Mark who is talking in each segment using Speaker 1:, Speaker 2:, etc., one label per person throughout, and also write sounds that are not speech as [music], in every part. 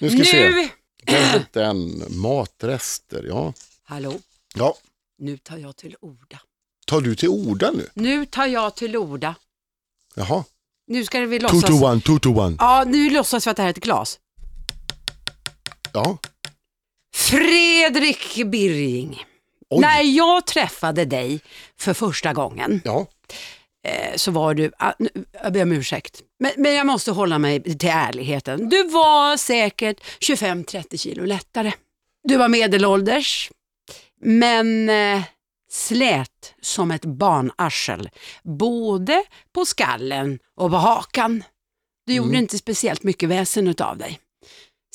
Speaker 1: Nu ska vi se.
Speaker 2: Nu!
Speaker 1: Den, den, matrester, ja.
Speaker 2: Hallå,
Speaker 1: ja.
Speaker 2: nu tar jag till orda.
Speaker 1: Tar du till orda nu?
Speaker 2: Nu tar jag till orda.
Speaker 1: Jaha.
Speaker 2: Nu ska vi
Speaker 1: Two
Speaker 2: låtsas.
Speaker 1: to one, two to one.
Speaker 2: Ja, nu låtsas vi att det här är ett glas.
Speaker 1: Ja.
Speaker 2: Fredrik Birging.
Speaker 1: Oj.
Speaker 2: När jag träffade dig för första gången
Speaker 1: Ja.
Speaker 2: eh, så var du, ah, nu- jag ber om ursäkt, men, men jag måste hålla mig till ärligheten. Du var säkert 25-30 kilo lättare. Du var medelålders, men eh, slät som ett barnarsel. Både på skallen och på hakan. Du gjorde inte speciellt mycket väsen av dig.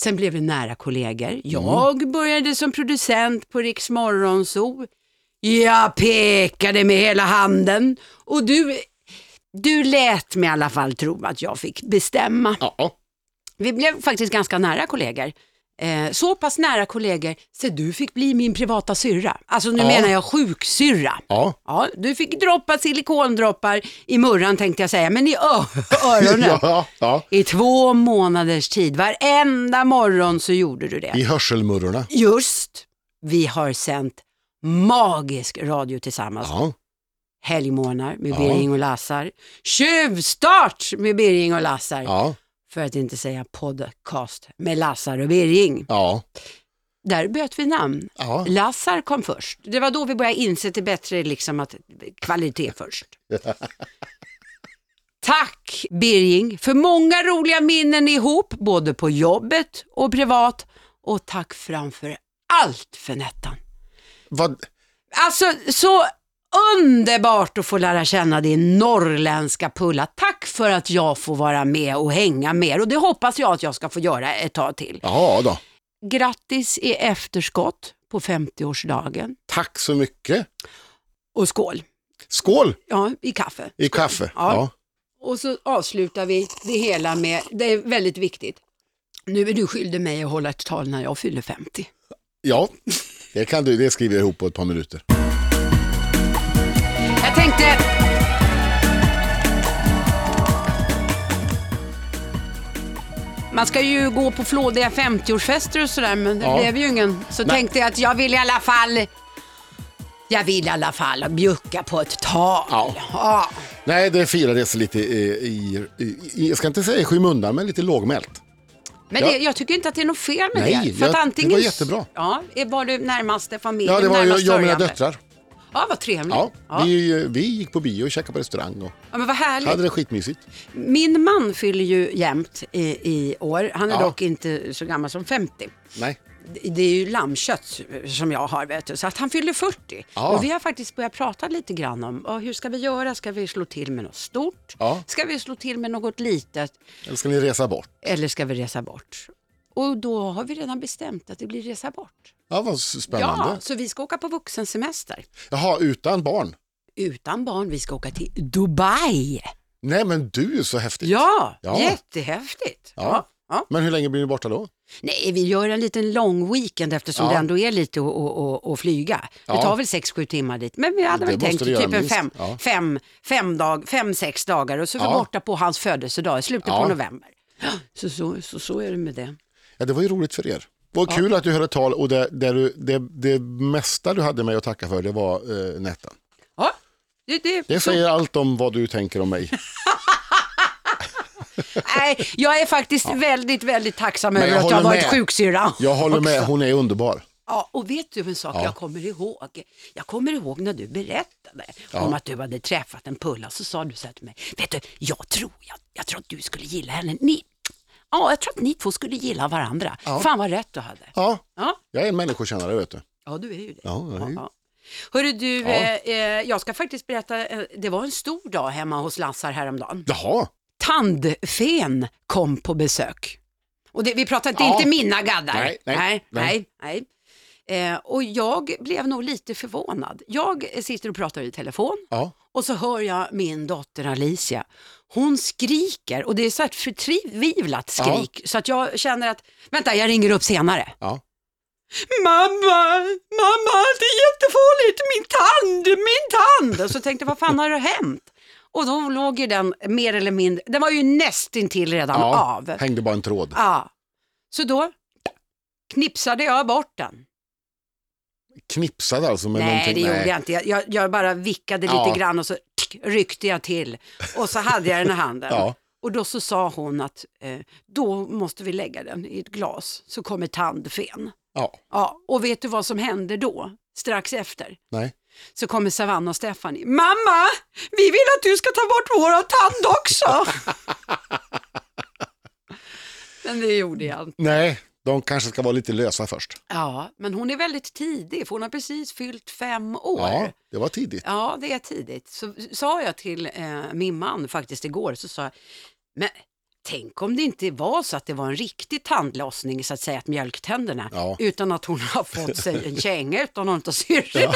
Speaker 2: Sen blev vi nära kollegor. Jag började som producent på Riks Morgonzoo. Jag pekade med hela handen och du, du lät mig i alla fall tro att jag fick bestämma.
Speaker 1: ja.
Speaker 2: Vi blev faktiskt ganska nära kollegor. Eh, så pass nära kollegor så du fick bli min privata syrra. Alltså nu
Speaker 1: Ja.
Speaker 2: menar jag sjuksyrra.
Speaker 1: Ja.
Speaker 2: Ja, du fick droppa silikondroppar i murran tänkte jag säga, men i ö- öronen.
Speaker 1: [laughs] ja, ja.
Speaker 2: I två månaders tid, varenda morgon så gjorde du det.
Speaker 1: I hörselmurrorna.
Speaker 2: Just, vi har sänt magisk radio tillsammans.
Speaker 1: Ja.
Speaker 2: Helgmorgnar med
Speaker 1: Ja.
Speaker 2: Birging och Lassar. Tjuvstart med Birging och Lassar.
Speaker 1: Ja.
Speaker 2: För att inte säga podcast med Lassar och Birging.
Speaker 1: Ja.
Speaker 2: Där bytte vi namn.
Speaker 1: Ja.
Speaker 2: Lassar kom först. Det var då vi började inse att det är bättre liksom att kvalitet först. Tack Birging för många roliga minnen ihop, både på jobbet och privat. Och tack framför allt för Nettan.
Speaker 1: Vad?
Speaker 2: Alltså så underbart att få lära känna din norrländska pulla. Tack för att jag får vara med och hänga med er. och det hoppas jag att jag ska få göra ett tag till.
Speaker 1: Ja då.
Speaker 2: Grattis i efterskott på 50-årsdagen
Speaker 1: Tack så mycket.
Speaker 2: och skål
Speaker 1: Skål
Speaker 2: ja, i kaffe.
Speaker 1: i kaffe.
Speaker 2: Ja.
Speaker 1: Ja.
Speaker 2: Och så avslutar vi det hela med, det är väldigt viktigt, nu är du skyldig mig att hålla ett tal när jag fyller 50.
Speaker 1: Ja. Det kan du, det skriver jag ihop på ett par minuter.
Speaker 2: Jag tänkte, man ska ju gå på flådiga 50-årsfester och sådär, men det
Speaker 1: Ja.
Speaker 2: blev ju ingen. Så
Speaker 1: Nej.
Speaker 2: tänkte jag att jag vill i alla fall, jag vill i alla fall bjucka på ett tal.
Speaker 1: Ja.
Speaker 2: Ja.
Speaker 1: Nej, det firades lite i, i, i, i jag ska inte säga i skymundan, men lite lågmält.
Speaker 2: Men
Speaker 1: Ja.
Speaker 2: det, jag tycker inte att det är något fel med
Speaker 1: Nej,
Speaker 2: det. För att
Speaker 1: jag- det
Speaker 2: antingen,
Speaker 1: var jättebra.
Speaker 2: Ja, är- var du närmaste familjen,
Speaker 1: Ja, det var
Speaker 2: närmast
Speaker 1: jag, jag och mina
Speaker 2: sörjande.
Speaker 1: döttrar.
Speaker 2: Ja, vad trevligt.
Speaker 1: Ja,
Speaker 2: Ja.
Speaker 1: Vi, vi gick på bio och käkade på restaurang och
Speaker 2: Ja, men vad härligt.
Speaker 1: hade det skitmysigt.
Speaker 2: Min man fyller ju jämt i, i år. Han är
Speaker 1: Ja.
Speaker 2: dock inte så gammal som 50.
Speaker 1: Nej.
Speaker 2: Det- Det är ju lammkött som jag har, vet du. så att han fyller 40.
Speaker 1: Ja.
Speaker 2: Och vi har faktiskt börjat prata lite grann om "Ja, hur ska vi göra? Ska vi slå till med något stort?
Speaker 1: Ja.
Speaker 2: Ska vi slå till med något litet?
Speaker 1: Eller ska ni resa bort?
Speaker 2: Eller ska vi resa bort? Och då har vi redan bestämt att det blir resa bort.
Speaker 1: Ja, vad s- spännande.
Speaker 2: Ja, så vi ska åka på vuxensemester.
Speaker 1: Jaha, utan barn?
Speaker 2: Utan barn, vi ska åka till Dubai.
Speaker 1: Nej, men du är så häftigt.
Speaker 2: Ja,
Speaker 1: Ja.
Speaker 2: jättehäftigt.
Speaker 1: Ja.
Speaker 2: ja.
Speaker 1: Men hur länge blir ni borta då?
Speaker 2: Nej, vi gör en liten lång weekend eftersom
Speaker 1: Ja.
Speaker 2: det ändå är lite att- att- att- att flyga. Det
Speaker 1: Ja.
Speaker 2: tar väl 6-7 timmar dit. Men vi hade
Speaker 1: Det
Speaker 2: väl
Speaker 1: måste
Speaker 2: tänkt
Speaker 1: det göra
Speaker 2: typ en
Speaker 1: minst.
Speaker 2: fem,
Speaker 1: Ja.
Speaker 2: fem, fem, dag, fem, sex dagar och så är vi
Speaker 1: Ja.
Speaker 2: borta på hans födelsedag i slutet
Speaker 1: Ja.
Speaker 2: på november. Så, så, så, så är det med det.
Speaker 1: Ja, det var ju roligt för er. Vad kul att du höll ett tal och det, där du, det, det mesta du hade mig att tacka för det var eh, nätten.
Speaker 2: Ja, det, det,
Speaker 1: Det
Speaker 2: så,
Speaker 1: säger allt om vad du tänker om mig.
Speaker 2: nej, jag är faktiskt väldigt, väldigt tacksam
Speaker 1: Men
Speaker 2: över
Speaker 1: jag
Speaker 2: att jag har
Speaker 1: håller
Speaker 2: varit
Speaker 1: med.
Speaker 2: sjuksyrra.
Speaker 1: Jag håller med,
Speaker 2: också.
Speaker 1: hon är underbar.
Speaker 2: Ja, och vet du en sak
Speaker 1: Ja.
Speaker 2: jag kommer ihåg? Jag kommer ihåg när du berättade om att du hade träffat en pulla så sa du så här till mig. Vet du, jag tror, jag, jag tror att du skulle gilla henne. Ni, ja, jag tror att ni två skulle gilla varandra. Fan vad rätt du hade.
Speaker 1: Ja,
Speaker 2: Ja,
Speaker 1: jag är en människokännare vet du.
Speaker 2: ja du är ju det.
Speaker 1: Ja, jag är ju-
Speaker 2: Hörru du,
Speaker 1: Ja.
Speaker 2: eh, eh, jag ska faktiskt berätta, eh, det var en stor dag hemma hos Lassar häromdagen.
Speaker 1: Jaha,
Speaker 2: Tandfen kom på besök. Och det, vi pratar inte,
Speaker 1: Ja.
Speaker 2: inte mina gaddar.
Speaker 1: Nej, nej,
Speaker 2: nej. nej,
Speaker 1: nej.
Speaker 2: nej. Eh, och jag blev nog lite förvånad. Jag sitter och pratar i telefon
Speaker 1: ja.
Speaker 2: och så hör jag min dotter Alicia. Hon skriker och det är så här ett förtvivlat skrik så att jag känner att, vänta jag ringer upp senare.
Speaker 1: ja.
Speaker 2: Mamma, mamma det är jättefarligt, min tand, min tand! Och så tänkte jag, vad fan har det hänt? Och då låg ju den mer eller mindre, den var ju nästintill redan
Speaker 1: ja.
Speaker 2: av.
Speaker 1: Hängde bara en tråd.
Speaker 2: Ja. Så då knipsade jag bort den.
Speaker 1: Knipsade alltså med
Speaker 2: Nej, det
Speaker 1: någonting?
Speaker 2: gjorde jag inte. Jag, jag, jag bara vickade
Speaker 1: Ja.
Speaker 2: lite grann och så tsk, ryckte jag till. Och så hade jag den i handen.
Speaker 1: Ja.
Speaker 2: Och då så sa hon att eh, då måste vi lägga den i ett glas så kommer tandfen.
Speaker 1: Ja,
Speaker 2: Ja, och vet du vad som hände då? Strax efter
Speaker 1: nej.
Speaker 2: så kommer Savanna och Stephanie. Mamma, vi vill att du ska ta bort våra tand också. men det gjorde jag inte.
Speaker 1: Nej, de kanske ska vara lite lösa först.
Speaker 2: Ja, men hon är väldigt tidig för hon har precis fyllt fem år.
Speaker 1: Ja, det var tidigt.
Speaker 2: Ja, det är tidigt. Så sa jag till eh, min man faktiskt igår, så sa jag, men tänk om det inte var så att det var en riktig tandlossning, så att säga, att mjölktänderna,
Speaker 1: Ja.
Speaker 2: utan att hon har fått sig
Speaker 1: [laughs]
Speaker 2: en känga utan någon av syrrorna.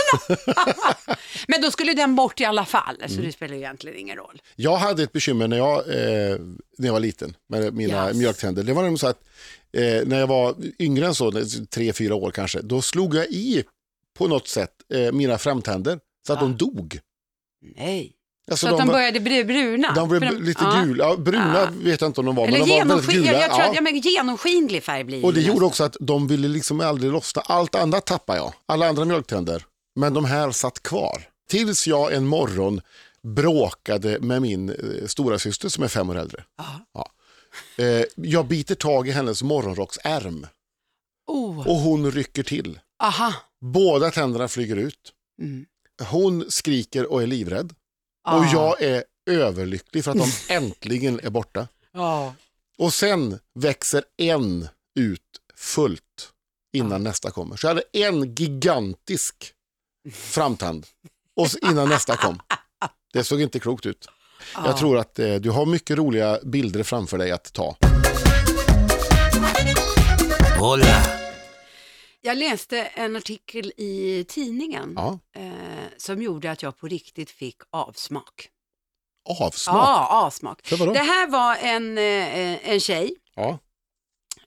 Speaker 2: [laughs] men då skulle den bort i alla fall, så
Speaker 1: Mm.
Speaker 2: det spelar egentligen ingen roll.
Speaker 1: Jag hade ett bekymmer när jag, eh, när jag var liten med mina
Speaker 2: Yes.
Speaker 1: mjölktänder. Det var nämligen så att eh, när jag var yngre än så, tre, fyra år kanske, då slog jag i på något sätt eh, mina framtänder så att
Speaker 2: Ja.
Speaker 1: de dog.
Speaker 2: Nej.
Speaker 1: Alltså,
Speaker 2: Ah. Så, att de
Speaker 1: var-
Speaker 2: började bli bruna?
Speaker 1: de blev
Speaker 2: För
Speaker 1: lite
Speaker 2: ja.
Speaker 1: gula, ja, bruna
Speaker 2: Ja.
Speaker 1: vet jag inte om de var,
Speaker 2: Eller
Speaker 1: men de var väldigt
Speaker 2: genomskin-
Speaker 1: gula.
Speaker 2: jag, jag tror
Speaker 1: ja.
Speaker 2: att, ja, men genomskinlig färg blir
Speaker 1: Och det
Speaker 2: ju
Speaker 1: gjorde
Speaker 2: nästan.
Speaker 1: också att de ville liksom aldrig lossna. Allt annat tappade jag, alla andra mjölktänder. Men de här satt kvar. Tills jag en morgon bråkade med min eh, stora syster som är fem år äldre.
Speaker 2: Ja.
Speaker 1: Eh, jag biter tag i hennes morgonrocksärm
Speaker 2: Oh.
Speaker 1: och hon rycker till.
Speaker 2: Aha.
Speaker 1: Båda tänderna flyger ut.
Speaker 2: Mm.
Speaker 1: Hon skriker och är livrädd. Och
Speaker 2: Ah.
Speaker 1: jag är överlycklig för att de äntligen är borta.
Speaker 2: Ja.
Speaker 1: Och sen växer en ut fullt innan nästa kommer. Så jag hade en gigantisk framtand och s- innan nästa kom. Det såg inte klokt ut. Jag tror att eh, du har mycket roliga bilder framför dig att ta.
Speaker 3: Hola,
Speaker 2: Jag läste en artikel i tidningen
Speaker 1: Ja.
Speaker 2: eh, som gjorde att jag på riktigt fick avsmak.
Speaker 1: Avsmak.
Speaker 2: Ja, avsmak.
Speaker 1: För vadå?
Speaker 2: Det här var en, eh, en tjej
Speaker 1: Ja.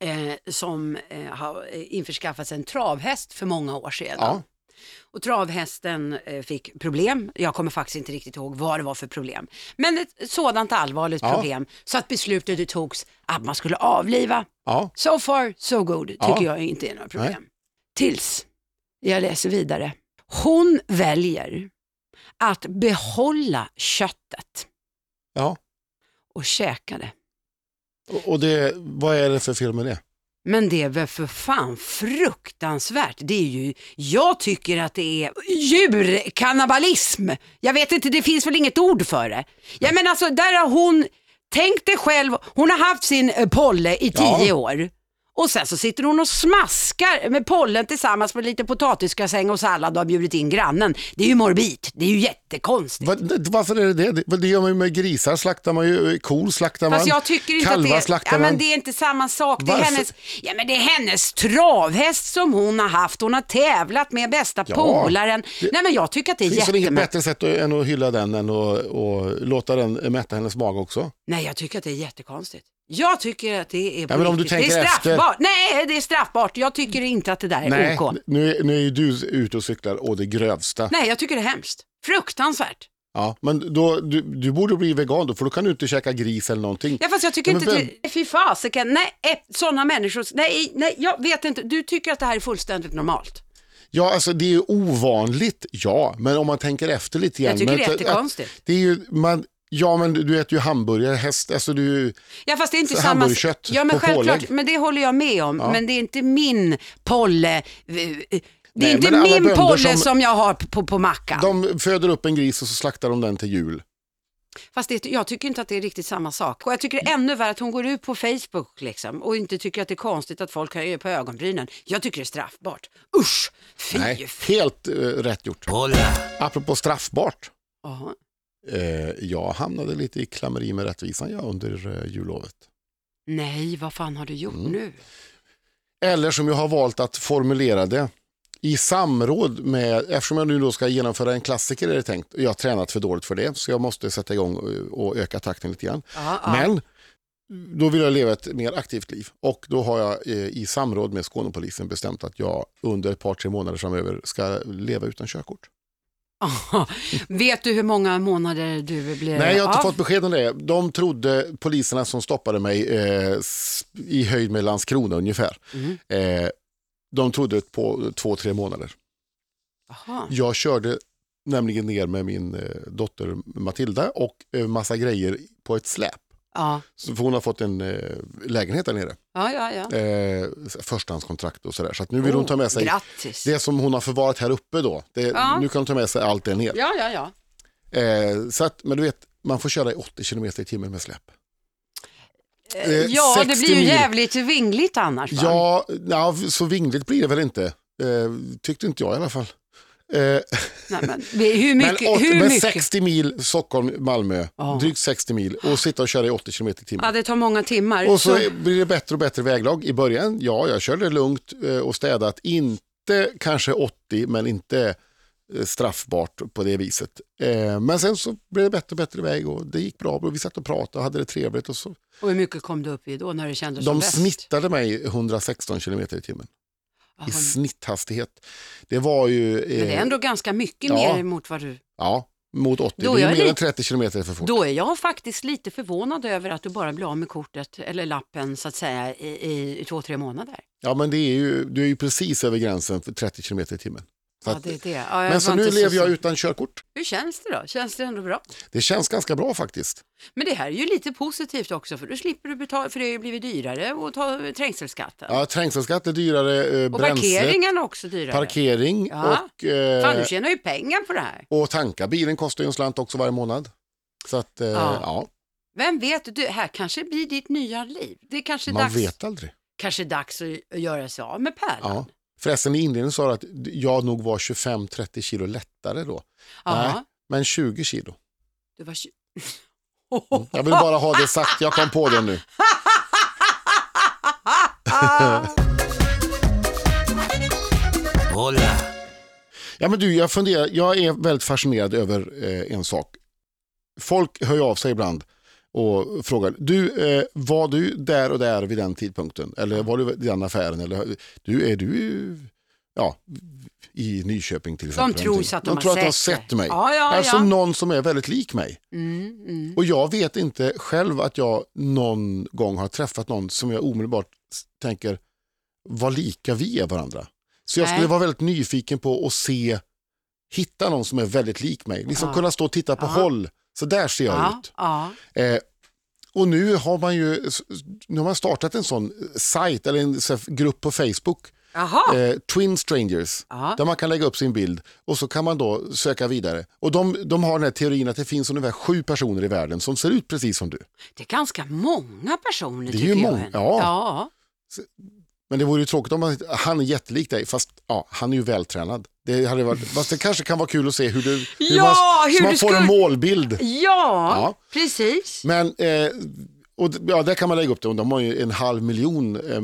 Speaker 2: eh, som eh, har införskaffat sig en travhäst för många år sedan.
Speaker 1: Ja.
Speaker 2: Och travhästen eh, fick problem. Jag kommer faktiskt inte riktigt ihåg vad det var för problem. Men ett sådant allvarligt
Speaker 1: Ja.
Speaker 2: problem så att beslutet togs att man skulle avliva
Speaker 1: Ja.
Speaker 2: So far, so good, tycker
Speaker 1: Ja.
Speaker 2: jag inte är några problem. Tills jag läser vidare. Hon väljer att behålla köttet
Speaker 1: ja.
Speaker 2: och käka det.
Speaker 1: Och- Och det, vad är det för film med det?
Speaker 2: Men det är väl för fan fruktansvärt. Det är ju, jag tycker att det är djurkannibalism. Jag vet inte, det finns väl inget ord för det. Jag menar alltså, där har hon, tänk dig själv, hon har haft sin eh, Polle i
Speaker 1: Ja.
Speaker 2: tio år. Och sen så sitter hon och smaskar med pollen tillsammans med lite potatisgrasäng och sallad och har bjudit in grannen. Det är ju morbid, det är ju jättekonstigt.
Speaker 1: Va, nej, varför är det det? det? vad- Det gör man ju med grisar, slaktar man ju, kor slaktar man,
Speaker 2: Fast jag tycker inte
Speaker 1: kalvar
Speaker 2: att det är,
Speaker 1: slaktar
Speaker 2: ja,
Speaker 1: man.
Speaker 2: men det är inte samma sak. Det är,
Speaker 1: Varför?
Speaker 2: hennes, ja, men det är hennes travhäst som hon har haft. Hon har tävlat med bästa
Speaker 1: Ja,
Speaker 2: polaren.
Speaker 1: det-
Speaker 2: Nej men jag tycker att det är
Speaker 1: Finns det inget
Speaker 2: jättemärkligt.
Speaker 1: bättre sätt att- än att hylla den än att och låta den mätta hennes mage också?
Speaker 2: Nej jag tycker att det är jättekonstigt. Jag tycker att det är på
Speaker 1: Ja, men om du
Speaker 2: riktigt. Det
Speaker 1: tänker
Speaker 2: är
Speaker 1: efter-
Speaker 2: straffbart. Nej det är straffbart. Jag tycker inte att det där är
Speaker 1: Nej,
Speaker 2: Eh, OK.
Speaker 1: nu, är- nu är ju du ute och cyklar å det grövsta.
Speaker 2: Nej jag tycker det är hemskt. Fruktansvärt.
Speaker 1: Ja, men då, du, du borde bli vegan då, för då kan du inte käka gris eller någonting.
Speaker 2: Ja, fast jag tycker
Speaker 1: Ja, men
Speaker 2: inte att det, fy fasiken, nej, sådana människor, nej, nej, jag vet inte, du tycker att det här är fullständigt normalt.
Speaker 1: Ja, alltså det är ju ovanligt, ja, men om man tänker efter lite grann.
Speaker 2: Jag tycker
Speaker 1: men,
Speaker 2: det är
Speaker 1: att-
Speaker 2: jättekonstigt.
Speaker 1: att Det är ju, man, ja, men du du äter ju hamburgare, häst, alltså du...
Speaker 2: Ja fast det är inte
Speaker 1: Så
Speaker 2: samma...
Speaker 1: hamburgerkött
Speaker 2: ja, men
Speaker 1: på
Speaker 2: självklart,
Speaker 1: pålägg.
Speaker 2: men det håller jag med om. Men det är inte min polle. eh, Det
Speaker 1: Nej,
Speaker 2: är inte
Speaker 1: men alla
Speaker 2: min
Speaker 1: bönder
Speaker 2: polle
Speaker 1: som-
Speaker 2: som... jag har på, på mackan.
Speaker 1: De föder upp en gris och så slaktar de den till jul.
Speaker 2: Fast det, jag tycker inte att det är riktigt samma sak. Och jag tycker det är ännu värre att hon går ut på Facebook liksom, och inte tycker att det är konstigt att folk höjer på ögonbrynen. Jag tycker det är straffbart. Usch! Fy!
Speaker 1: Nej,
Speaker 2: f-
Speaker 1: helt eh, rätt gjort.
Speaker 3: hola,
Speaker 1: Apropå straffbart,
Speaker 2: Jaha.
Speaker 1: eh, jag hamnade lite i klammeri med rättvisan jag under eh, jullovet.
Speaker 2: Nej, vad fan har du gjort
Speaker 1: Mm.
Speaker 2: nu?
Speaker 1: Eller som jag har valt att formulera det, i samråd med, eftersom jag nu då ska genomföra en klassiker är det tänkt, jag har tränat för dåligt för det, så jag måste sätta igång och- och öka takten lite grann.
Speaker 2: Ja, ja. [laughs]
Speaker 1: Men då vill jag leva ett mer aktivt liv och då har jag eh, i samråd med Skånepolisen bestämt att jag under ett par tre månader framöver ska leva utan körkort.
Speaker 2: Vet du hur många månader du blev
Speaker 1: Nej, jag har inte
Speaker 2: av?
Speaker 1: fått besked om det. De trodde, poliserna som stoppade mig eh, s- i höjd med Landskrona ungefär,
Speaker 2: Mm.
Speaker 1: eh, de trodde på två, tre månader.
Speaker 2: Jaha.
Speaker 1: Jag körde nämligen ner med min eh, dotter Matilda och eh, massa grejer på ett släp.
Speaker 2: Ja.
Speaker 1: Så, för hon har fått en eh, lägenhet där nere,
Speaker 2: Ja, ja, ja.
Speaker 1: eh, förstahandskontrakt och sådär. Så att nu vill hon ta med sig
Speaker 2: Oh, Grattis.
Speaker 1: det som hon har förvarat här uppe då. Det,
Speaker 2: Ja.
Speaker 1: Nu kan hon ta med sig allt det ner.
Speaker 2: Ja, ja, ja.
Speaker 1: Eh, så att, men du vet, man får köra i 80 km i timmen med släp. Eh,
Speaker 2: Ja, det
Speaker 1: 60
Speaker 2: blir ju
Speaker 1: mil.
Speaker 2: jävligt vingligt annars. va?
Speaker 1: Ja, ja, så vingligt blir det väl inte. Eh, tyckte inte jag i alla fall. Eh,
Speaker 2: Nej, men, det- hur
Speaker 1: men,
Speaker 2: mycket?
Speaker 1: åt,
Speaker 2: hur
Speaker 1: men
Speaker 2: mycket?
Speaker 1: 60 mil Stockholm, Malmö,
Speaker 2: Ja.
Speaker 1: drygt 60 mil och sitta och köra i 80 km i
Speaker 2: Ja,
Speaker 1: timmen.
Speaker 2: det tar många timmar.
Speaker 1: Och så
Speaker 2: så-
Speaker 1: blir det bättre och bättre väglag. I början, ja, jag körde lugnt eh, och städat. Inte kanske 80, men inte eh, straffbart på det viset. Eh, Men sen så blev det bättre och bättre väg och det gick bra. Och vi satt och pratade och hade det trevligt. Och så.
Speaker 2: Och hur mycket kom du upp i då när det kändes som
Speaker 1: De
Speaker 2: bäst?
Speaker 1: snittade mig 116 km i timmen.
Speaker 2: Jaha,
Speaker 1: i snitthastighet. Det var ju... Eh,
Speaker 2: Men det är ändå ganska mycket
Speaker 1: Ja.
Speaker 2: mer mot vad du...
Speaker 1: Ja, mot 80.
Speaker 2: Då
Speaker 1: det är
Speaker 2: är
Speaker 1: ju mer
Speaker 2: det-
Speaker 1: än 30 kilometer för fort.
Speaker 2: Då är jag faktiskt lite förvånad över att du bara blir av med kortet eller lappen så att säga i, i, i två, tre månader.
Speaker 1: Ja, men det är ju, du är ju precis över gränsen för 30 kilometer i timmen. Så
Speaker 2: Ja,
Speaker 1: att,
Speaker 2: det är det. Ja, jag
Speaker 1: men så
Speaker 2: var
Speaker 1: nu
Speaker 2: inte
Speaker 1: lever jag
Speaker 2: säker.
Speaker 1: utan körkort.
Speaker 2: Hur känns det då? Känns det ändå bra?
Speaker 1: Det känns ganska bra faktiskt.
Speaker 2: Men det här är ju lite positivt också för då slipper du betala, för det har ju blivit dyrare att ta trängselskatten.
Speaker 1: Ja, trängselskatt är dyrare, eh,
Speaker 2: och
Speaker 1: bränsle,
Speaker 2: parkeringen är också dyrare.
Speaker 1: parkering
Speaker 2: Ja.
Speaker 1: och, eh,
Speaker 2: Fan, du tjänar ju pengar på det här.
Speaker 1: och tanka. Bilen kostar ju en slant också varje månad. Så att, eh,
Speaker 2: Ja.
Speaker 1: ja,
Speaker 2: Vem vet, du, här kanske blir ditt nya liv. Det är kanske
Speaker 1: man
Speaker 2: dags,
Speaker 1: vet aldrig.
Speaker 2: kanske dags att göra sig av med pärlan.
Speaker 1: Ja. Förresten, i inledningen sa du att jag nog var 25-30 kilo lättare då.
Speaker 2: Jaha,
Speaker 1: Nej. Men 20 kilo.
Speaker 2: Du var tju-
Speaker 1: Mm, Jag
Speaker 2: [laughs]
Speaker 1: vill bara ha det sagt, jag kom på det nu. [laughs]
Speaker 3: hola,
Speaker 1: Ja, men du, jag, funderar, jag är väldigt fascinerad över eh, en sak. Folk hör ju av sig ibland och frågar, du, eh, var du där och där vid den tidpunkten? Eller var du i den affären? Eller, du, är du ja, i Nyköping till exempel?
Speaker 2: De tror så att de,
Speaker 1: de tror
Speaker 2: har,
Speaker 1: att de har
Speaker 2: sett
Speaker 1: sett mig.
Speaker 2: Ja, ja,
Speaker 1: Alltså
Speaker 2: ja.
Speaker 1: någon som är väldigt lik mig.
Speaker 2: Mm, mm.
Speaker 1: Och jag vet inte själv att jag någon gång har träffat någon som jag omedelbart s- tänker, vad lika vi är varandra. Så jag
Speaker 2: Nej.
Speaker 1: skulle vara väldigt nyfiken på att se, hitta någon som är väldigt lik mig. Liksom
Speaker 2: Ja.
Speaker 1: kunna stå och titta på
Speaker 2: Ja.
Speaker 1: håll, så där ser jag
Speaker 2: Ja,
Speaker 1: ut.
Speaker 2: ja.
Speaker 1: Eh, och nu har man ju s- nu har man startat en sån eh, sajt, eller en sån här grupp på Facebook,
Speaker 2: Jaha.
Speaker 1: eh, Twin Strangers.
Speaker 2: Ja.
Speaker 1: Där man kan lägga upp sin bild och så kan man då söka vidare. Och de, de har den här teorin att det finns ungefär sju personer i världen som ser ut precis som du.
Speaker 2: Det är ganska många personer
Speaker 1: Det är
Speaker 2: tycker
Speaker 1: ju
Speaker 2: jag.
Speaker 1: många,
Speaker 2: ändå.
Speaker 1: ja.
Speaker 2: ja.
Speaker 1: Men det vore ju tråkigt om man, han är jättelik dig, fast ja, han är ju vältränad. Det, hade varit, fast det kanske kan vara kul att se hur du, hur
Speaker 2: Ja,
Speaker 1: man,
Speaker 2: hur
Speaker 1: så man
Speaker 2: du
Speaker 1: får en
Speaker 2: skulle-
Speaker 1: målbild.
Speaker 2: Ja,
Speaker 1: Ja.
Speaker 2: precis.
Speaker 1: Men, eh, och, d- ja, där kan man lägga upp det, och de har ju en halv miljon eh,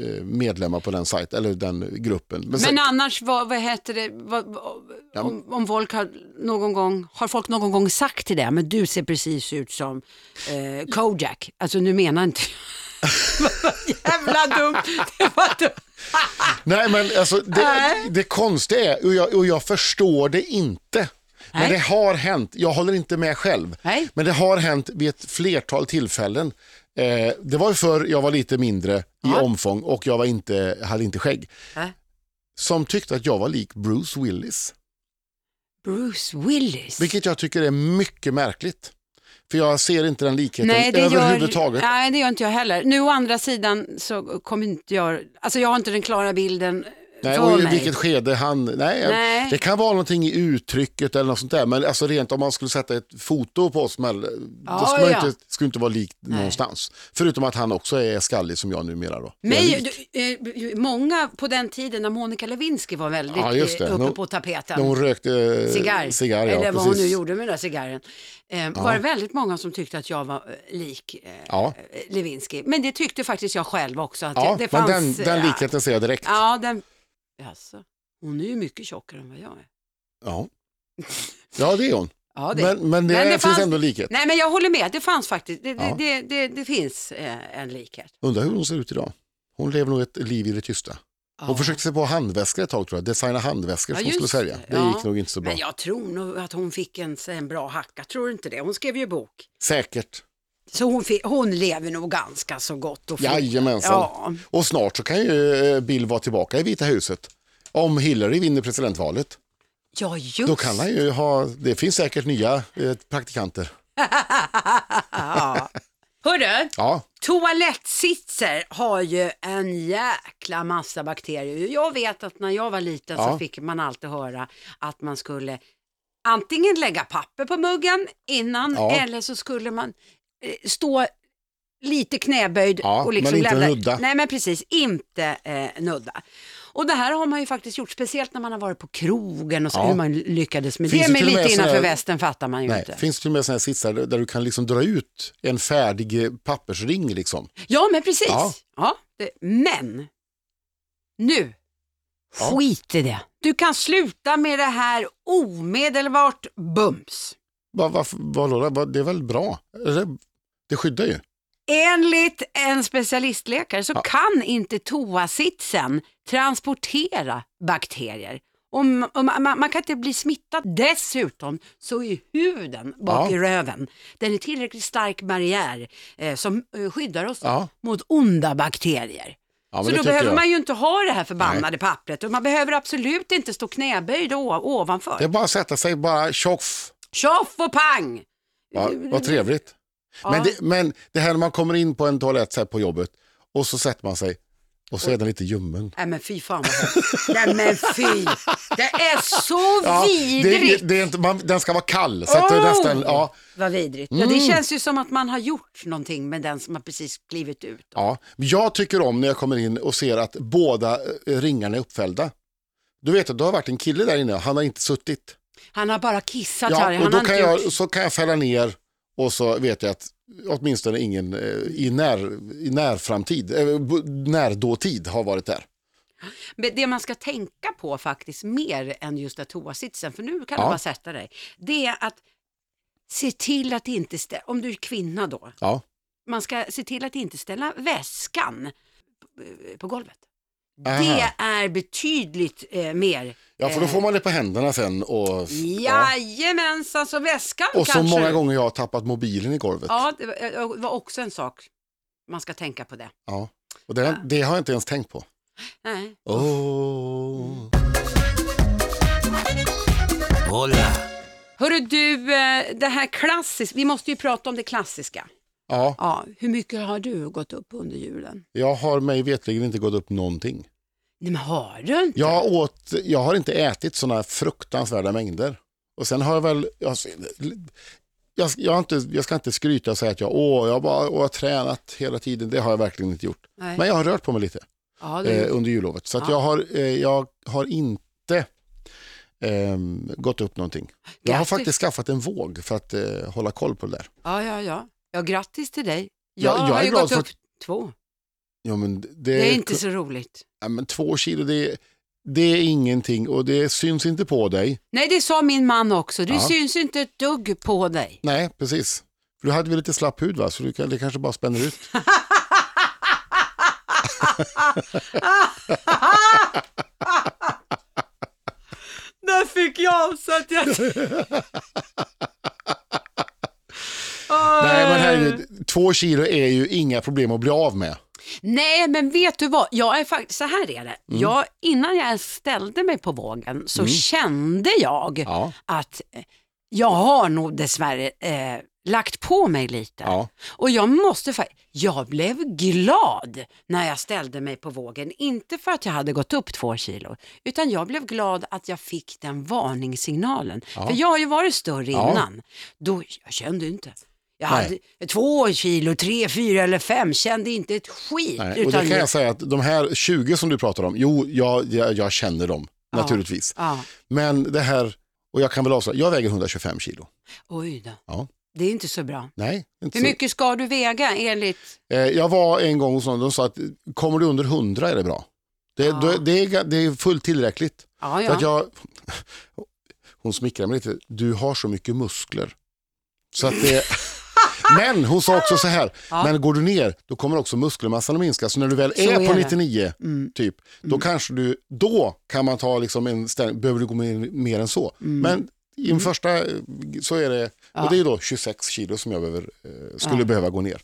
Speaker 1: eh, medlemmar på den sajt, eller den gruppen. Men, sen,
Speaker 2: Men annars, vad, vad heter det, vad, vad-
Speaker 1: Ja,
Speaker 2: om, om folk har någon gång, har folk någon gång sagt till dig, men du ser precis ut som eh, Kojak. Alltså nu menar inte jag. [laughs] Jävla dumt. Det var dumt.
Speaker 1: nej, men alltså, det,
Speaker 2: Nej.
Speaker 1: det konstiga är, och jag, och jag förstår det inte, men
Speaker 2: Nej.
Speaker 1: det har hänt, jag håller inte med själv,
Speaker 2: Nej.
Speaker 1: men det har hänt vid ett flertal tillfällen. Eh, det var ju förr jag var lite mindre i
Speaker 2: Ja. Äh.
Speaker 1: omfång och jag var inte, hade inte skägg.
Speaker 2: Nej.
Speaker 1: Som tyckte att jag var lik Bruce Willis.
Speaker 2: Bruce Willis.
Speaker 1: Vilket jag tycker är mycket märkligt. För jag ser inte den likheten
Speaker 2: Nej det, gör,
Speaker 1: överhuvudtaget.
Speaker 2: nej, det gör inte jag heller. Nu å andra sidan så kommer inte jag, alltså jag har inte den klara bilden
Speaker 1: Nej,
Speaker 2: för
Speaker 1: och i
Speaker 2: mig.
Speaker 1: vilket skede han... Nej,
Speaker 2: Nej.
Speaker 1: Det kan vara någonting i uttrycket eller något sånt där. Men alltså rent om man skulle sätta ett foto på oss, men,
Speaker 2: Ja,
Speaker 1: då skulle man
Speaker 2: ja.
Speaker 1: inte, skulle inte vara likt någonstans. Förutom att han också är skallig som jag numera då. Jag är
Speaker 2: Mig,
Speaker 1: lik.
Speaker 2: du, eh, många på den tiden när Monica Lewinsky var väldigt
Speaker 1: Ja, just det.
Speaker 2: eh, uppe
Speaker 1: Hon-
Speaker 2: på tapeten.
Speaker 1: När hon rökte eh,
Speaker 2: cigarr,
Speaker 1: cigarr ja,
Speaker 2: eller vad hon
Speaker 1: precis.
Speaker 2: nu gjorde med den där cigarren. Eh, Var det väldigt många som tyckte att jag var eh, lik eh,
Speaker 1: Ja,
Speaker 2: eh, Lewinsky. Men det tyckte faktiskt jag själv också. Att
Speaker 1: ja
Speaker 2: det, det
Speaker 1: men
Speaker 2: fanns,
Speaker 1: den, den
Speaker 2: eh,
Speaker 1: likheten ser jag direkt.
Speaker 2: Ja, den... Jaså, hon är ju mycket tjockare än vad jag är.
Speaker 1: Ja, ja det är hon.
Speaker 2: Ja, det.
Speaker 1: Men, men det,
Speaker 2: Men det
Speaker 1: finns
Speaker 2: fanns-
Speaker 1: ändå likhet.
Speaker 2: Nej, men jag håller med. Det fanns faktiskt. Det,
Speaker 1: Ja.
Speaker 2: det, det, det, det finns eh, en likhet.
Speaker 1: Undrar hur hon ser ut idag. Hon lever nog ett liv i det tysta. Hon försökte sig på handväskor ett tag tror jag, designa handväskor som
Speaker 2: Ja,
Speaker 1: hon skulle
Speaker 2: just
Speaker 1: sälja.
Speaker 2: det.
Speaker 1: Det
Speaker 2: Ja.
Speaker 1: gick nog inte så bra.
Speaker 2: Men jag tror nog att hon fick en, en bra hacka, tror du inte det? Hon skrev ju bok.
Speaker 1: Säkert.
Speaker 2: Så hon, fi- hon lever nog ganska så gott och fint.
Speaker 1: Jajamensan.
Speaker 2: Ja.
Speaker 1: Och snart så kan ju eh, Bill vara tillbaka i Vita huset. Om Hillary vinner presidentvalet,
Speaker 2: ja, just
Speaker 1: då kan han ju ha, det finns säkert nya eh, praktikanter.
Speaker 2: ja. Hörru,
Speaker 1: Ja,
Speaker 2: toalettsitser har ju en jäkla massa bakterier. Jag vet att när jag var liten så
Speaker 1: Ja.
Speaker 2: fick man alltid höra att man skulle antingen lägga papper på muggen innan
Speaker 1: Ja.
Speaker 2: eller så skulle man eh, stå lite knäböjd
Speaker 1: Ja,
Speaker 2: och liksom
Speaker 1: men inte
Speaker 2: lämna-
Speaker 1: nudda.
Speaker 2: Nej men precis, inte eh, nudda. Och det här har man ju faktiskt gjort, speciellt när man har varit på krogen och så
Speaker 1: Ja.
Speaker 2: hur man lyckades med
Speaker 1: Finns
Speaker 2: det.
Speaker 1: det
Speaker 2: Men
Speaker 1: till och med
Speaker 2: lite
Speaker 1: sån här-
Speaker 2: innanför västen fattar man ju
Speaker 1: nej.
Speaker 2: inte.
Speaker 1: finns det till och med sådana här sitsar där där du kan liksom dra ut en färdig eh, pappersring liksom.
Speaker 2: Ja, men precis. Ja.
Speaker 1: Ja.
Speaker 2: det, men nu,
Speaker 1: Ja.
Speaker 2: skit i det. Du kan sluta med det här omedelbart bums.
Speaker 1: Va, va, vadå, va, det är väl bra? Eller, Det skyddar ju.
Speaker 2: Enligt en specialistläkare så
Speaker 1: Ja.
Speaker 2: kan inte toasitsen transportera bakterier. Och ma- och ma- man, man kan inte bli smittad. Dessutom så är huden
Speaker 1: Ja.
Speaker 2: bak i röven, den är tillräckligt stark barriär eh, som eh, skyddar oss
Speaker 1: Ja.
Speaker 2: mot onda bakterier.
Speaker 1: Ja, men
Speaker 2: så
Speaker 1: det
Speaker 2: då
Speaker 1: tycker
Speaker 2: behöver
Speaker 1: jag.
Speaker 2: man ju inte ha det här förbannade pappret och man behöver absolut inte stå knäböjd å- ovanför.
Speaker 1: Det är bara att sätta sig, bara tjoff.
Speaker 2: Tjoff och pang!
Speaker 1: Ja, vad trevligt. Men, det, men det här när man kommer in på en toalett så här på jobbet och så sätter man sig och så är den lite ljummen.
Speaker 2: Nej men fy fan vad hemskt. Nej men fy. Det är så
Speaker 1: det,
Speaker 2: vidrigt.
Speaker 1: det är inte, man, den ska vara kall. Så att det är
Speaker 2: Oh!
Speaker 1: nästan, ja,
Speaker 2: Vad vidrigt. Ja,
Speaker 1: Mm.
Speaker 2: det känns ju som att man har gjort någonting med den som har precis klivit ut.
Speaker 1: ja. Jag tycker om när jag kommer in och ser att båda eh, ringarna är uppfällda. Du vet att det har varit en kille där inne, han har inte suttit.
Speaker 2: Han har bara kissat här.
Speaker 1: Ja,
Speaker 2: Han
Speaker 1: och då
Speaker 2: har
Speaker 1: kan
Speaker 2: inte
Speaker 1: jag,
Speaker 2: gjort...
Speaker 1: så kan jag fälla ner och så vet jag att åtminstone ingen eh, i, när, i närframtid, eh, b- närdåtid har varit där.
Speaker 2: Men det man ska tänka på faktiskt mer än just att toasitsen, för nu kan du
Speaker 1: Ja.
Speaker 2: bara sätta dig, det är att se till att inte, stä- om du är kvinna då,
Speaker 1: Ja.
Speaker 2: man ska se till att inte ställa väskan eh, på golvet.
Speaker 1: Aha.
Speaker 2: Det är betydligt eh, mer.
Speaker 1: Ja, för då får man det på händerna sen. Och,
Speaker 2: Jajamensan, så väskan
Speaker 1: och så
Speaker 2: kanske.
Speaker 1: många gånger jag har tappat mobilen i golvet.
Speaker 2: Ja, det var- eh, var också en sak. Man ska tänka på det.
Speaker 1: Ja. Och det, det har jag inte ens tänkt på.
Speaker 2: Nej.
Speaker 1: Oh.
Speaker 3: hola,
Speaker 2: Hörru du, eh, det här klassiska, vi måste ju prata om det klassiska.
Speaker 1: Ja,
Speaker 2: Ja, hur mycket har du gått upp under julen?
Speaker 1: jag har mig vetligen inte gått upp någonting.
Speaker 2: Nej men har du inte?
Speaker 1: Jag, åt, jag har inte ätit sådana fruktansvärda mängder. Och sen har jag väl, jag, jag, jag, har inte, jag ska inte skryta och säga att jag, åh, jag, bara, åh, jag har tränat hela tiden, det har jag verkligen inte gjort.
Speaker 2: Nej.
Speaker 1: Men jag har rört på mig lite.
Speaker 2: ja,
Speaker 1: eh,
Speaker 2: du...
Speaker 1: under jullovet. Så att
Speaker 2: Ja.
Speaker 1: jag, har, eh, jag har inte ehm, gått upp någonting. Jag har
Speaker 2: Grattis.
Speaker 1: faktiskt skaffat en våg för att eh, hålla koll på det där.
Speaker 2: ja, ja, ja. Ja, grattis till dig. Jag,
Speaker 1: Ja, jag
Speaker 2: har
Speaker 1: är
Speaker 2: ju
Speaker 1: glad
Speaker 2: gått
Speaker 1: för Eh,
Speaker 2: upp två.
Speaker 1: Ja, men det,
Speaker 2: Det är inte så roligt.
Speaker 1: ja, men två kilo, det, det är ingenting och det syns inte på dig.
Speaker 2: Nej, det sa min man också. Det
Speaker 1: Ja.
Speaker 2: syns inte ett dugg på dig.
Speaker 1: Nej, precis. För du hade väl lite slapp hud va, så du, kan- det kanske bara spänner ut.
Speaker 2: Där fick jag så att jag...
Speaker 1: [laughs]
Speaker 2: Åh.
Speaker 1: Nej, men
Speaker 2: Mm.
Speaker 1: herregud, två kilo är ju inga problem att bli av med.
Speaker 2: Nej, men vet du vad? Jag är faktiskt, så här är det.
Speaker 1: Mm.
Speaker 2: Jag, innan jag ens ställde mig på vågen så kände jag
Speaker 1: Ja.
Speaker 2: att eh, jag har nog dessvärre eh, lagt på mig lite.
Speaker 1: Ja.
Speaker 2: Och jag måste fa- jag blev glad när jag ställde mig på vågen. Inte för att jag hade gått upp två kilo, utan jag blev glad att jag fick den varningssignalen. För jag har ju varit större
Speaker 1: Ja.
Speaker 2: innan. Då, jag kände inte. Jag
Speaker 1: Nej.
Speaker 2: hade två kilo, tre, fyra eller fem, kände inte ett skit.
Speaker 1: Nej, och det kan jag säga att de här 20 som du pratar om, jo, jag, jag, jag känner dem naturligtvis.
Speaker 2: ja.
Speaker 1: Men det här, och jag kan väl avslöja, jag väger 125 kilo.
Speaker 2: Oj då,
Speaker 1: Ja.
Speaker 2: det är inte så bra.
Speaker 1: Nej, inte
Speaker 2: Hur mycket ska du väga enligt...
Speaker 1: Så. Eh, jag var en gång hos någon, de sa att kommer du under 100 är det bra. Det,
Speaker 2: Ja.
Speaker 1: då- det, är, ga- det är fullt tillräckligt.
Speaker 2: Ja,
Speaker 1: För
Speaker 2: ja.
Speaker 1: att jag,
Speaker 2: [laughs]
Speaker 1: hon smickrar mig lite, du har så mycket muskler. Så att det, Men hon sa också så här,
Speaker 2: Ja.
Speaker 1: men går du ner då kommer också muskelmassan att minska. Så när du väl
Speaker 2: Så
Speaker 1: är,
Speaker 2: är
Speaker 1: på
Speaker 2: det.
Speaker 1: 99,
Speaker 2: Mm.
Speaker 1: typ, då kanske du, då kan man ta liksom en ställning, behöver du gå mer, mer än så.
Speaker 2: Mm.
Speaker 1: Men i den första eh, så är det, och det är då 26 kilo som jag behöver, eh, skulle behöva gå ner.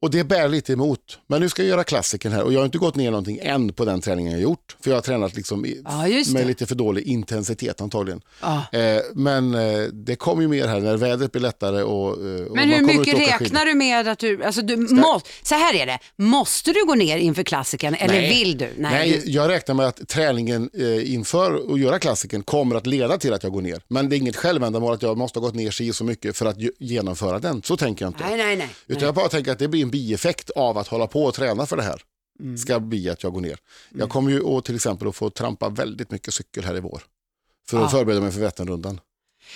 Speaker 1: Och det bär lite emot. Men nu ska jag göra klassiken här och jag har inte gått ner någonting än på den träningen jag gjort. För jag har tränat liksom i,
Speaker 2: Ja, just
Speaker 1: med
Speaker 2: det.
Speaker 1: lite för dålig intensitet antagligen.
Speaker 2: Ja.
Speaker 1: Eh, men eh, det kommer ju mer här när vädret blir lättare och, eh, och
Speaker 2: Men hur
Speaker 1: man kommer ut
Speaker 2: mycket
Speaker 1: och åka skidor.
Speaker 2: räknar du med att du, alltså du må, så här är det, måste du gå ner inför klassiken eller
Speaker 1: Nej.
Speaker 2: vill du?
Speaker 1: Nej,
Speaker 2: du-
Speaker 1: jag räknar med att träningen eh, inför att göra klassiken kommer att leda till att jag går ner. Men det är inget självändamål att jag måste ha gått ner sig så mycket för att ju- genomföra den. Så tänker jag inte.
Speaker 2: nej, nej. nej.
Speaker 1: Utan jag bara tänker att det blir en bieffekt av att hålla på och träna för det här. Ska bli att jag går ner. Jag kommer ju att, till exempel att få trampa väldigt mycket cykel här i vår. För att
Speaker 2: Ja.
Speaker 1: förbereda mig för Vätternrundan.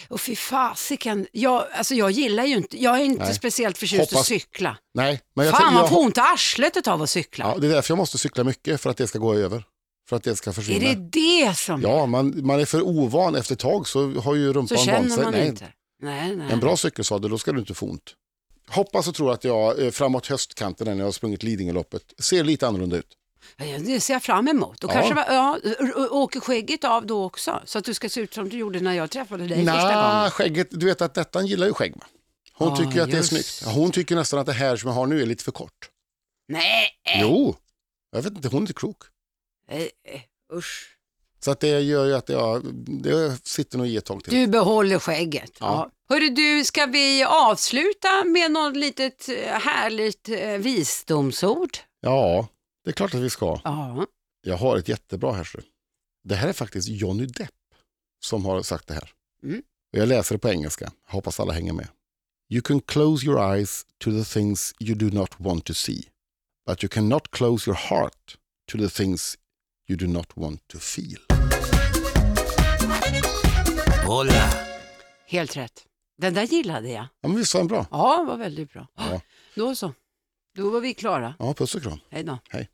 Speaker 2: Och fy fasiken, jag, alltså jag gillar ju inte, jag är inte
Speaker 1: Nej.
Speaker 2: speciellt förtjust att
Speaker 1: Hoppas-
Speaker 2: cykla.
Speaker 1: Nej, men jag,
Speaker 2: Fan
Speaker 1: tänker-
Speaker 2: man
Speaker 1: jag,
Speaker 2: får ont i arsletet av att cykla.
Speaker 1: ja, Det är därför jag måste cykla mycket, för att det ska gå över. För att det ska
Speaker 2: är
Speaker 1: försvinna.
Speaker 2: det det som,
Speaker 1: Ja, man, man är för ovan efter ett tag så har ju
Speaker 2: så
Speaker 1: rumpan vant
Speaker 2: känner
Speaker 1: sig.
Speaker 2: man
Speaker 1: Nej,
Speaker 2: inte? Nej, nej.
Speaker 1: En bra cykelsadel, då ska du inte få ont. Hoppas och tror att jag eh, framåt höstkanten när jag har sprungit Lidingöloppet ser lite annorlunda ut.
Speaker 2: Ja, Det ser jag fram emot. Då
Speaker 1: Ja.
Speaker 2: kanske, man- ja, ö- ö- åker skägget av då också? Så att du ska se ut som du gjorde när jag träffade dig första
Speaker 1: Nja,
Speaker 2: gången.
Speaker 1: skägget, du vet att detta gillar ju skägg va? Hon
Speaker 2: Ja,
Speaker 1: tycker ju att det är
Speaker 2: just
Speaker 1: snyggt. Ja, Hon tycker nästan att det här som jag har nu är lite för kort.
Speaker 2: Nej,
Speaker 1: Jo, jag vet inte, hon är inte klok.
Speaker 2: eh, eh, usch.
Speaker 1: Så att det gör ju att jag, det sitter nog i ett tag till.
Speaker 2: Du behåller skägget.
Speaker 1: Ja.
Speaker 2: Ja. Hörru du, ska vi avsluta med något litet eh, härligt eh, visdomsord?
Speaker 1: Ja, det är klart att vi ska.
Speaker 2: Ja.
Speaker 1: Jag har ett jättebra här. så. Det här är faktiskt Johnny Depp som har sagt det här.
Speaker 2: Mm.
Speaker 1: Och jag läser det på engelska. Hoppas alla hänger med. You can close your eyes to the things you do not want to see. But you cannot close your heart to the things you do not want to feel.
Speaker 3: hola,
Speaker 2: Helt rätt. Den där gillade jag.
Speaker 1: Ja, men visst var den bra?
Speaker 2: Ja, var väldigt bra.
Speaker 1: Ja.
Speaker 2: Då så. Då var vi klara.
Speaker 1: Ja, puss och kram.
Speaker 2: Hej då.
Speaker 1: Hej.